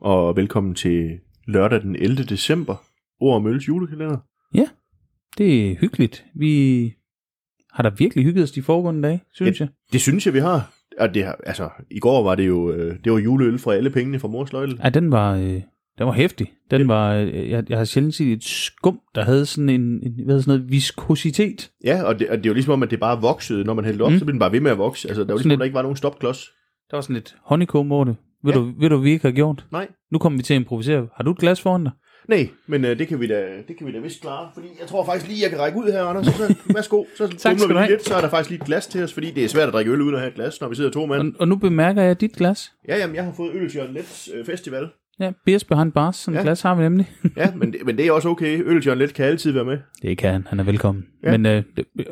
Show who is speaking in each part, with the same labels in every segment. Speaker 1: og velkommen til lørdag den 11. december, Ord og Mølles julekalender.
Speaker 2: Ja, det er hyggeligt. Vi har da virkelig hygget os de foregående dage, synes
Speaker 1: Ja.
Speaker 2: jeg.
Speaker 1: Det synes jeg, vi har. Og det, har- altså, i går var det jo øh, det var juleøl fra alle pengene fra mors løgle.
Speaker 2: Ja, den var, øh, den var hæftig. Den var, øh, jeg, jeg har sjældent set et skum, der havde sådan en, en hvad hedder sådan noget, viskositet.
Speaker 1: Ja, og det, og det er jo ligesom om, at det bare voksede. Når man hældte op,
Speaker 2: Mm.
Speaker 1: så blev den bare ved med at vokse. Altså, der var
Speaker 2: Sådan
Speaker 1: ligesom,
Speaker 2: lidt-
Speaker 1: der ikke var nogen stopklods.
Speaker 2: Der var sådan lidt honeycomb over det. Ved,
Speaker 1: Ja.
Speaker 2: ja. du, ved du, hvad vi ikke har gjort?
Speaker 1: Nej.
Speaker 2: Nu kommer vi til at improvisere. Har du et glas foran dig?
Speaker 1: Nej, men øh, det, kan vi da, det kan vi da vist klare, fordi jeg tror faktisk lige, jeg kan række ud her, Anders. Så, værsgo, så
Speaker 2: skal
Speaker 1: dumler vi
Speaker 2: du
Speaker 1: lige
Speaker 2: have.
Speaker 1: lidt, så er der faktisk lige et glas til os, fordi det er svært at drikke øl uden at have et glas, når vi sidder to mand.
Speaker 2: Og, og nu bemærker jeg dit glas.
Speaker 1: Ja, jamen, jeg har fået øl til Jørgen Lets øh, festival.
Speaker 2: Ja, beers behind bars. Sådan et
Speaker 1: Ja.
Speaker 2: glas har vi nemlig.
Speaker 1: Ja, men det, men det er også okay. Øl til Jørgen Let kan altid være med.
Speaker 2: det kan han. Han er velkommen.
Speaker 1: Ja.
Speaker 2: Ja. Men øh, det, øh,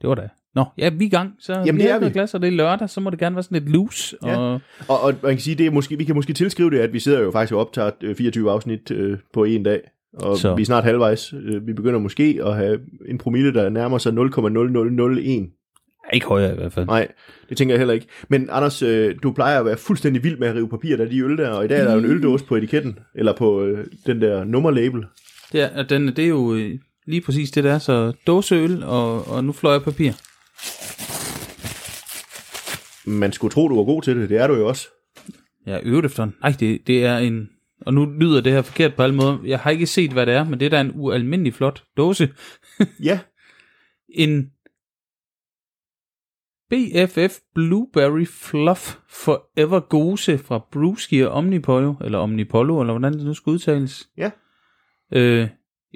Speaker 2: det var da... Nå, ja, vi er i gang. Så
Speaker 1: Jamen, det
Speaker 2: vi har
Speaker 1: er
Speaker 2: ikke noget
Speaker 1: vi.
Speaker 2: Glas, og det er lørdag, så må det gerne være sådan lidt loose.
Speaker 1: Ja.
Speaker 2: Ja. Og,
Speaker 1: Og, og man kan sige, det er måske, vi kan måske tilskrive det, at vi sidder jo faktisk og optager øh, 24 afsnit øh, på en dag. Og så.
Speaker 2: Så.
Speaker 1: vi er snart halvvejs. Øh, Vi begynder måske at have en promille, der nærmer sig 0,0001.
Speaker 2: ikke højere i hvert fald.
Speaker 1: Nej, det tænker jeg heller ikke. Men Anders, øh, du plejer at være fuldstændig vild med at rive papir af de øl der, og i dag er der jo en øldåse på etiketten, eller på øh, den der nummerlabel.
Speaker 2: Det er, og den, det er jo øh, lige præcis det, der er. Så dåseøl, og, og nu fløj jeg papir.
Speaker 1: Man skulle tro, du var god til det. Det er du jo også.
Speaker 2: Jeg er øvet efter den. Nej, det, det er en... Og nu lyder det her forkert på alle måder. Jeg har ikke set, hvad det er, men det er da en ualmindelig flot dåse.
Speaker 1: Ja,
Speaker 2: En BFF Blueberry Fluff Forever Gose fra Brewski og Omnipollo, eller Omnipollo, eller hvordan det nu skal udtales.
Speaker 1: Ja.
Speaker 2: Øh,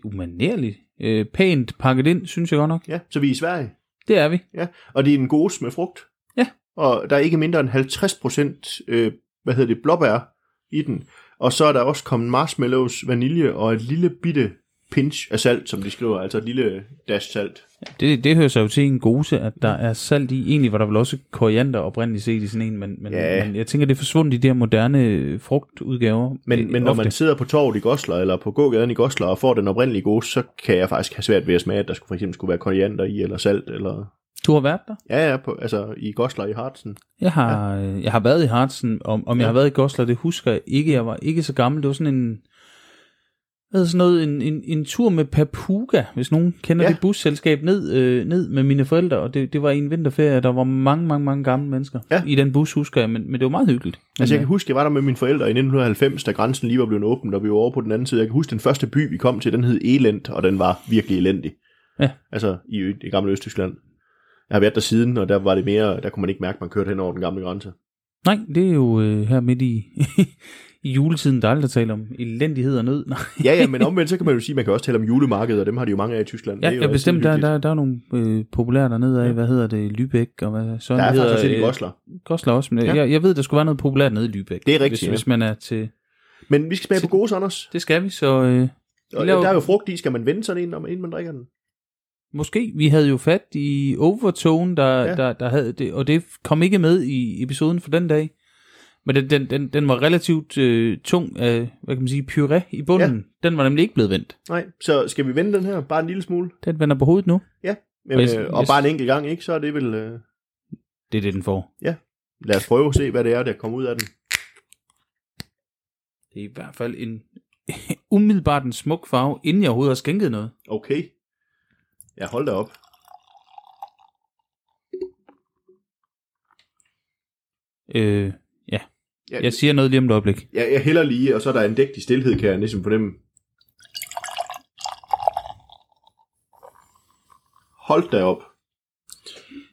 Speaker 2: umanerligt. Øh, pænt pakket ind, synes jeg godt nok.
Speaker 1: ja. Så vi er i Sverige.
Speaker 2: Det er vi.
Speaker 1: Ja, og det er en gose med frugt.
Speaker 2: Ja.
Speaker 1: Og der er ikke mindre end 50 procent, øh, hvad hedder det, blåbær i den. Og så er der også kommet marshmallows, vanilje og et lille bitte pinch af salt, som de skriver, altså et lille dash salt.
Speaker 2: Det, det hører sig jo til en gose, at der er salt i. Egentlig var der vel også koriander oprindeligt set i sådan en, men, men,
Speaker 1: Ja.
Speaker 2: men jeg tænker, det er forsvundet i de her moderne øh, frugtudgaver.
Speaker 1: Men,
Speaker 2: øh,
Speaker 1: men når
Speaker 2: ofte.
Speaker 1: man sidder på torvet i Goslar, eller på gågaden i Goslar, og får den oprindelige gose, så kan jeg faktisk have svært ved at smage, at der skulle, for eksempel skulle være koriander i, eller salt, eller...
Speaker 2: Du har været der?
Speaker 1: Ja, ja, på, altså i Goslar i Hartsen.
Speaker 2: Jeg har, ja. jeg har været i Hartsen. Om, om ja.
Speaker 1: Ja.
Speaker 2: jeg har været i Goslar, det husker jeg ikke. Jeg var ikke så gammel. Det var sådan en... Hvad hedder sådan noget, en, en, en tur med Papuga, hvis nogen kender
Speaker 1: Ja.
Speaker 2: ja. det busselskab, ned, øh, ned med mine forældre, og det, det var i en vinterferie, der var mange, mange, mange gamle mennesker
Speaker 1: Ja.
Speaker 2: i den bus, husker jeg, men, men det var meget hyggeligt.
Speaker 1: Altså,
Speaker 2: Men, øh,
Speaker 1: jeg kan huske, jeg var der med mine forældre i 1990, da grænsen lige var blevet åbent, og vi var over på den anden side. Jeg kan huske, den første by, vi kom til, den hed Elend, og den var virkelig elendig.
Speaker 2: Ja.
Speaker 1: Altså, i ø- det gamle Østtyskland. Jeg har været der siden, og der var det mere, der kunne man ikke mærke, at man kørte hen over den gamle grænse.
Speaker 2: Nej, det er jo øh, her midt i, i juletiden, der er aldrig taler om elendighed og nød. Nej,
Speaker 1: Ja, ja, men omvendt, så kan man jo sige, at man kan også tale om julemarkeder, og dem har de jo mange af i Tyskland.
Speaker 2: ja,
Speaker 1: er jo
Speaker 2: ja
Speaker 1: altid
Speaker 2: bestemt, der,
Speaker 1: hyggeligt.
Speaker 2: der, der er nogle øh, populære dernede af,
Speaker 1: Ja.
Speaker 2: ja. hvad hedder det, Lübeck, og hvad så
Speaker 1: der er faktisk også lidt i
Speaker 2: hedder,
Speaker 1: Goslar.
Speaker 2: Goslar også, men
Speaker 1: Ja.
Speaker 2: ja. jeg, jeg ved, der skulle være noget populært nede i Lübeck.
Speaker 1: Det er rigtigt,
Speaker 2: hvis,
Speaker 1: ja.
Speaker 2: hvis man er til...
Speaker 1: Men vi skal smage på gode, Anders.
Speaker 2: Det skal vi, så øh,
Speaker 1: Og
Speaker 2: laver-
Speaker 1: der er jo frugt i, skal man vende sådan en, når man- inden man drikker den?
Speaker 2: måske, vi havde jo fat i Overtone, der,
Speaker 1: Ja.
Speaker 2: ja. der, der havde det, og det kom ikke med i episoden for den dag. Men den, den, den, den var relativt øh, tung af, hvad kan man sige, puré i bunden. Ja. Den var nemlig ikke blevet vendt.
Speaker 1: Nej, så skal vi vende den her, bare en lille smule.
Speaker 2: Den vender på hovedet nu.
Speaker 1: Men,
Speaker 2: Hvis-
Speaker 1: øh, og
Speaker 2: hvis-
Speaker 1: bare en enkelt gang, ikke? Så er det vel... Øh...
Speaker 2: Det er det, den får.
Speaker 1: Lad os prøve at se, hvad det er, der kommer ud af den.
Speaker 2: Det er i hvert fald en umiddelbart en smuk farve, inden jeg overhovedet har skænket noget.
Speaker 1: Okay. Ja, hold da op.
Speaker 2: Øh, ja.
Speaker 1: Jeg,
Speaker 2: Jeg siger noget lige om et øjeblik.
Speaker 1: jeg, jeg hælder lige, og så er der en dægtig stillhed, kan jeg ligesom fornemme. Hold da op.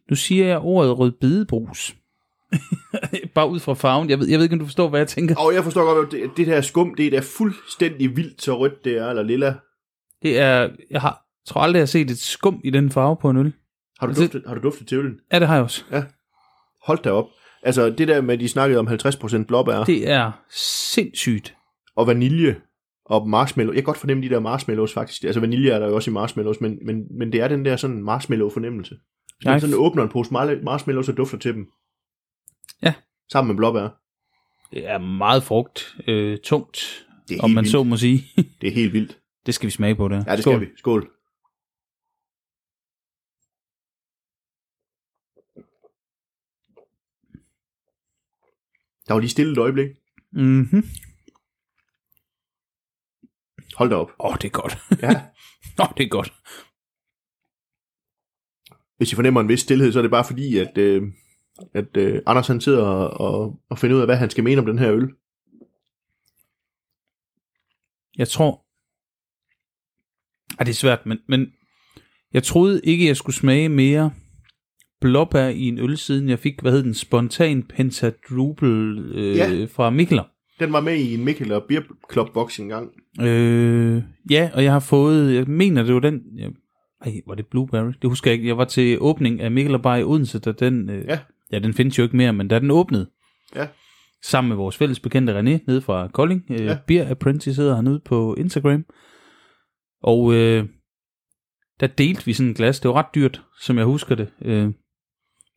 Speaker 2: Nu siger jeg ordet rødbidebrus. Bare ud fra farven. Jeg ved, jeg ved ikke, om du forstår, hvad jeg tænker.
Speaker 1: Og jeg forstår godt, at det, det her skum, det er da fuldstændig vildt så rødt det er, eller lilla.
Speaker 2: Det er, jeg har, tror aldrig, jeg har set et skum i den farve på en øl.
Speaker 1: Har du,
Speaker 2: Altså-
Speaker 1: duftet, har du duftet til ølen?
Speaker 2: Ja, det har jeg også.
Speaker 1: Hold da op. Altså, det der med, at de snakkede om 50% blåbær
Speaker 2: Det er sindssygt.
Speaker 1: og vanilje og marshmallow. Jeg kan godt fornemme de der marshmallows, faktisk. Altså, vanilje er der jo også i marshmallows, men, men, men det er den der sådan marshmallow-fornemmelse. Hvis man
Speaker 2: Jeg-
Speaker 1: sådan åbner en pose marle- marshmallows og dufter til dem.
Speaker 2: Ja.
Speaker 1: Sammen med blåbær.
Speaker 2: Det er meget frugt, øh, tungt,
Speaker 1: Det er,
Speaker 2: om
Speaker 1: helt
Speaker 2: man
Speaker 1: vildt.
Speaker 2: så må sige.
Speaker 1: det er helt vildt.
Speaker 2: det skal vi smage på, det her.
Speaker 1: Ja, det
Speaker 2: Skål.
Speaker 1: skal vi. Skål. Der var lige stille et øjeblik.
Speaker 2: Mm-hmm.
Speaker 1: Hold da op.
Speaker 2: Åh, oh, det er godt.
Speaker 1: Ja.
Speaker 2: Nå, det er godt.
Speaker 1: Hvis I fornemmer en vis stillhed, så er det bare fordi, at, øh, at øh, Anders han sidder og, og, og finder ud af, hvad han skal mene om den her øl.
Speaker 2: Jeg tror... Ej, det er svært, men, men jeg troede ikke, jeg skulle smage mere blåbær i en øl, siden jeg fik, hvad hed den, spontan pentadrupel øh,
Speaker 1: Ja.
Speaker 2: ja. fra Mikkeler.
Speaker 1: Den var med i en Mikkel og Beer Club box engang.
Speaker 2: Øh, ja, og jeg har fået, jeg mener, det var den, jeg, ej, var det Blueberry? Det husker jeg ikke. Jeg var til åbning af Mikkel og Bar i Odense, da den, øh,
Speaker 1: Ja.
Speaker 2: ja, den findes jo ikke mere, men da den åbnede,
Speaker 1: Ja.
Speaker 2: sammen med vores fælles bekendte René, nede fra Kolding, øh,
Speaker 1: Ja.
Speaker 2: ja. Beer Apprentice hedder han ude på Instagram, og øh, der delte vi sådan en glas, det var ret dyrt, som jeg husker det, øh,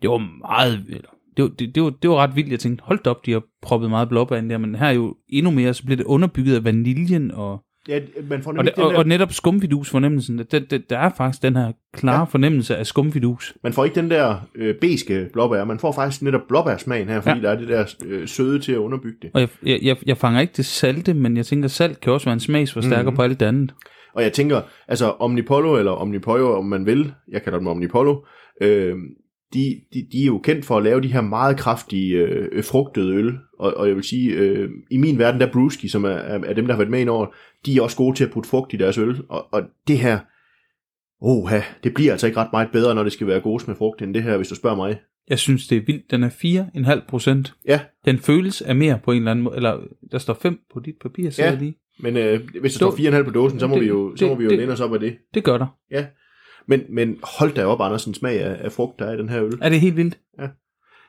Speaker 2: det var meget, eller, det, var, det, det, var, det var ret vildt. Jeg tænkte, hold da op, de har proppet meget blåbær ind der, men her er jo endnu mere, så bliver det underbygget af vaniljen og
Speaker 1: Ja, man får
Speaker 2: og,
Speaker 1: nemlig
Speaker 2: det,
Speaker 1: ikke den
Speaker 2: og,
Speaker 1: der-
Speaker 2: og netop skumfidus fornemmelsen, det, det, der er faktisk den her klare
Speaker 1: Ja.
Speaker 2: ja. fornemmelse af skumfidus.
Speaker 1: Man får ikke den der øh, beske blåbær, man får faktisk netop blåbærsmagen her, fordi ja. der er det der øh, søde til at underbygge det.
Speaker 2: Og jeg, jeg, jeg, jeg fanger ikke det salte, men jeg tænker, salt kan også være en smagsforstærker
Speaker 1: Mhm.
Speaker 2: mm-hmm. på alt det andet.
Speaker 1: Og jeg tænker, altså Omnipollo, eller Omnipoyo, om man vil, jeg kalder dem Omnipollo, øh, de, de, de er jo kendt for at lave de her meget kraftige øh, øh, frugtede øl, og, og jeg vil sige, øh, i min verden, der Brewski, som er, er, er dem, der har været med ind over, de er også gode til at putte frugt i deres øl, og, og det her, oha, det bliver altså ikke ret meget bedre, når det skal være gode med frugt, end det her, hvis du spørger mig.
Speaker 2: Jeg synes, det er vildt. Den er 4,5 procent.
Speaker 1: Ja,
Speaker 2: Den føles af mere på en eller anden måde. Eller der står 5 på dit papir, ser
Speaker 1: Ja.
Speaker 2: ja. jeg lige.
Speaker 1: men øh, hvis der
Speaker 2: Du-
Speaker 1: står 4,5 på dåsen, så må
Speaker 2: det-
Speaker 1: vi jo, så må
Speaker 2: det-
Speaker 1: vi jo
Speaker 2: det-
Speaker 1: læne os op af det.
Speaker 2: Det gør der.
Speaker 1: Men, men hold da op, Andersen, smag af, af frugt, der er i den her øl.
Speaker 2: Er det helt vildt?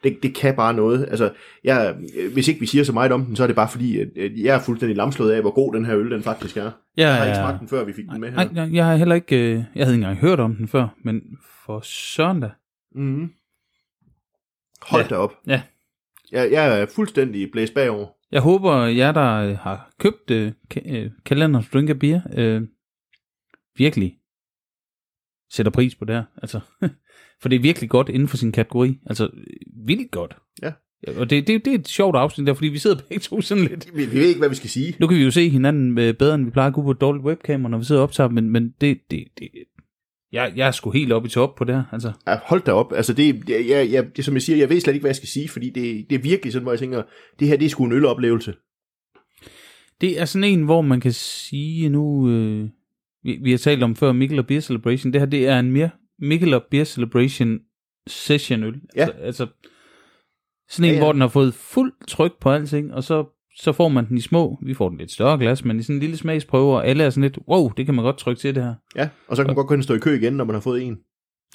Speaker 1: Det, det kan bare noget. Altså, jeg, hvis ikke vi siger så meget om den, så er det bare fordi, at at jeg er fuldstændig lamslået af, hvor god den her øl den faktisk er. Jeg har ikke smagt den, før vi fik den med
Speaker 2: Nej,
Speaker 1: her.
Speaker 2: nej, jeg har heller ikke, øh, jeg havde ikke engang hørt om den før, men for søren da.
Speaker 1: Mm. Hold
Speaker 2: Ja.
Speaker 1: da op.
Speaker 2: Ja.
Speaker 1: Jeg, jeg er fuldstændig blæst bagover.
Speaker 2: Jeg håber, jer, der øh, har købt øh, ka- øh, kalenderen Drink a Beer, øh, virkelig sætter pris på det her. Altså, for det er virkelig godt inden for sin kategori. Altså, øh, vildt godt.
Speaker 1: Ja.
Speaker 2: Og det, det, det er et sjovt afsnit der, fordi vi sidder begge to sådan lidt.
Speaker 1: Vi, vi ved ikke, hvad vi skal sige.
Speaker 2: Nu kan vi jo se hinanden øh, bedre, end vi plejer at kunne på et dårligt webcam, når vi sidder og optager, men, men det, det, det, jeg, jeg er sgu helt oppe i top på det her. Altså,
Speaker 1: Ja, hold da op. Altså, det, det, jeg, jeg, det, som jeg siger, jeg ved slet ikke, hvad jeg skal sige, fordi det, det er virkelig sådan, hvor jeg tænker, det her, det er sgu en øloplevelse.
Speaker 2: Det er sådan en, hvor man kan sige nu... Øh, vi, vi har talt om før Mikkel og Beer Celebration. Det her, det er en mere Mikkel og Beer Celebration session øl.
Speaker 1: Ja.
Speaker 2: Altså, altså
Speaker 1: Ja,
Speaker 2: sådan en, ja,
Speaker 1: ja.
Speaker 2: ja. hvor den har fået fuld tryk på alting, og så, så får man den i små. Vi får den i et større glas, men i sådan en lille smagsprøve, og alle er sådan lidt, wow, det kan man godt trykke til det her.
Speaker 1: Ja, og så kan man godt kunne stå i kø igen, når man har fået en.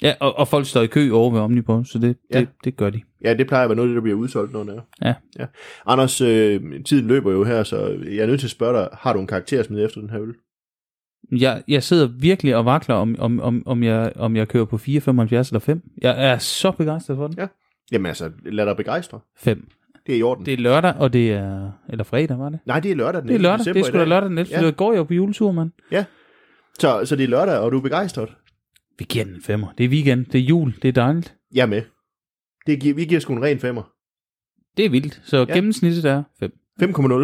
Speaker 2: Ja, og, og folk står i kø over ved Omnipå, så det,
Speaker 1: Ja.
Speaker 2: ja. det, det gør de.
Speaker 1: Ja, det plejer at være noget af det, der bliver udsolgt, når det er.
Speaker 2: Ja.
Speaker 1: ja. Anders, øh, tiden løber jo her, så jeg er nødt til at spørge dig, har du en karakter at smide efter den her øl?
Speaker 2: Jeg, jeg sidder virkelig og vakler, om, om, om, om, jeg, om jeg kører på 4,75 eller 5. Jeg er så begejstret for den.
Speaker 1: Ja. Jamen altså, lad dig begejstre.
Speaker 2: 5.
Speaker 1: Det er i orden. Det...
Speaker 2: Det er lørdag, og det er... Eller fredag, var det?
Speaker 1: Nej, det er lørdag den
Speaker 2: Det er
Speaker 1: 11.
Speaker 2: lørdag. Det
Speaker 1: december
Speaker 2: er
Speaker 1: i
Speaker 2: sgu da
Speaker 1: dag.
Speaker 2: lørdag den 11.
Speaker 1: Ja.
Speaker 2: Ja. Jeg går jo på juletur, mand.
Speaker 1: Så, så det er lørdag, og du er begejstret?
Speaker 2: Vi giver den en femmer. Det er weekend. Det er jul. Det er dejligt.
Speaker 1: Jeg er med. Det giver, vi giver sgu en ren femmer.
Speaker 2: Det er vildt. Så
Speaker 1: Ja.
Speaker 2: ja. gennemsnittet er 5.
Speaker 1: 5,0.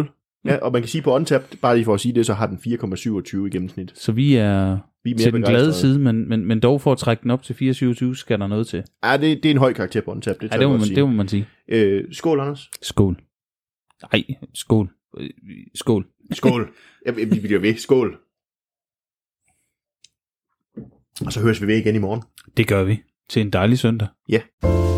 Speaker 1: Ja,
Speaker 2: Mm.
Speaker 1: og man kan sige på Untapped, bare lige for at sige det, så har den 4,27 i gennemsnit.
Speaker 2: Så vi er
Speaker 1: Vi er mere
Speaker 2: til den glade
Speaker 1: begejstrede.
Speaker 2: side, men, men, men dog for at trække den op til 4,27 skal der noget til.
Speaker 1: Ja, det, det er en høj karakter på Untapped, det
Speaker 2: Ja,
Speaker 1: tør
Speaker 2: det
Speaker 1: jeg
Speaker 2: må,
Speaker 1: godt
Speaker 2: man,
Speaker 1: sige.
Speaker 2: det må man sige.
Speaker 1: Øh, skål, Anders.
Speaker 2: Skål. Nej, skål. Øh, Skål.
Speaker 1: Skål. ja, vi vi bliver ved. Skål. Og så høres vi ved igen i morgen.
Speaker 2: Det gør vi. Til en dejlig søndag.
Speaker 1: Ja. Yeah.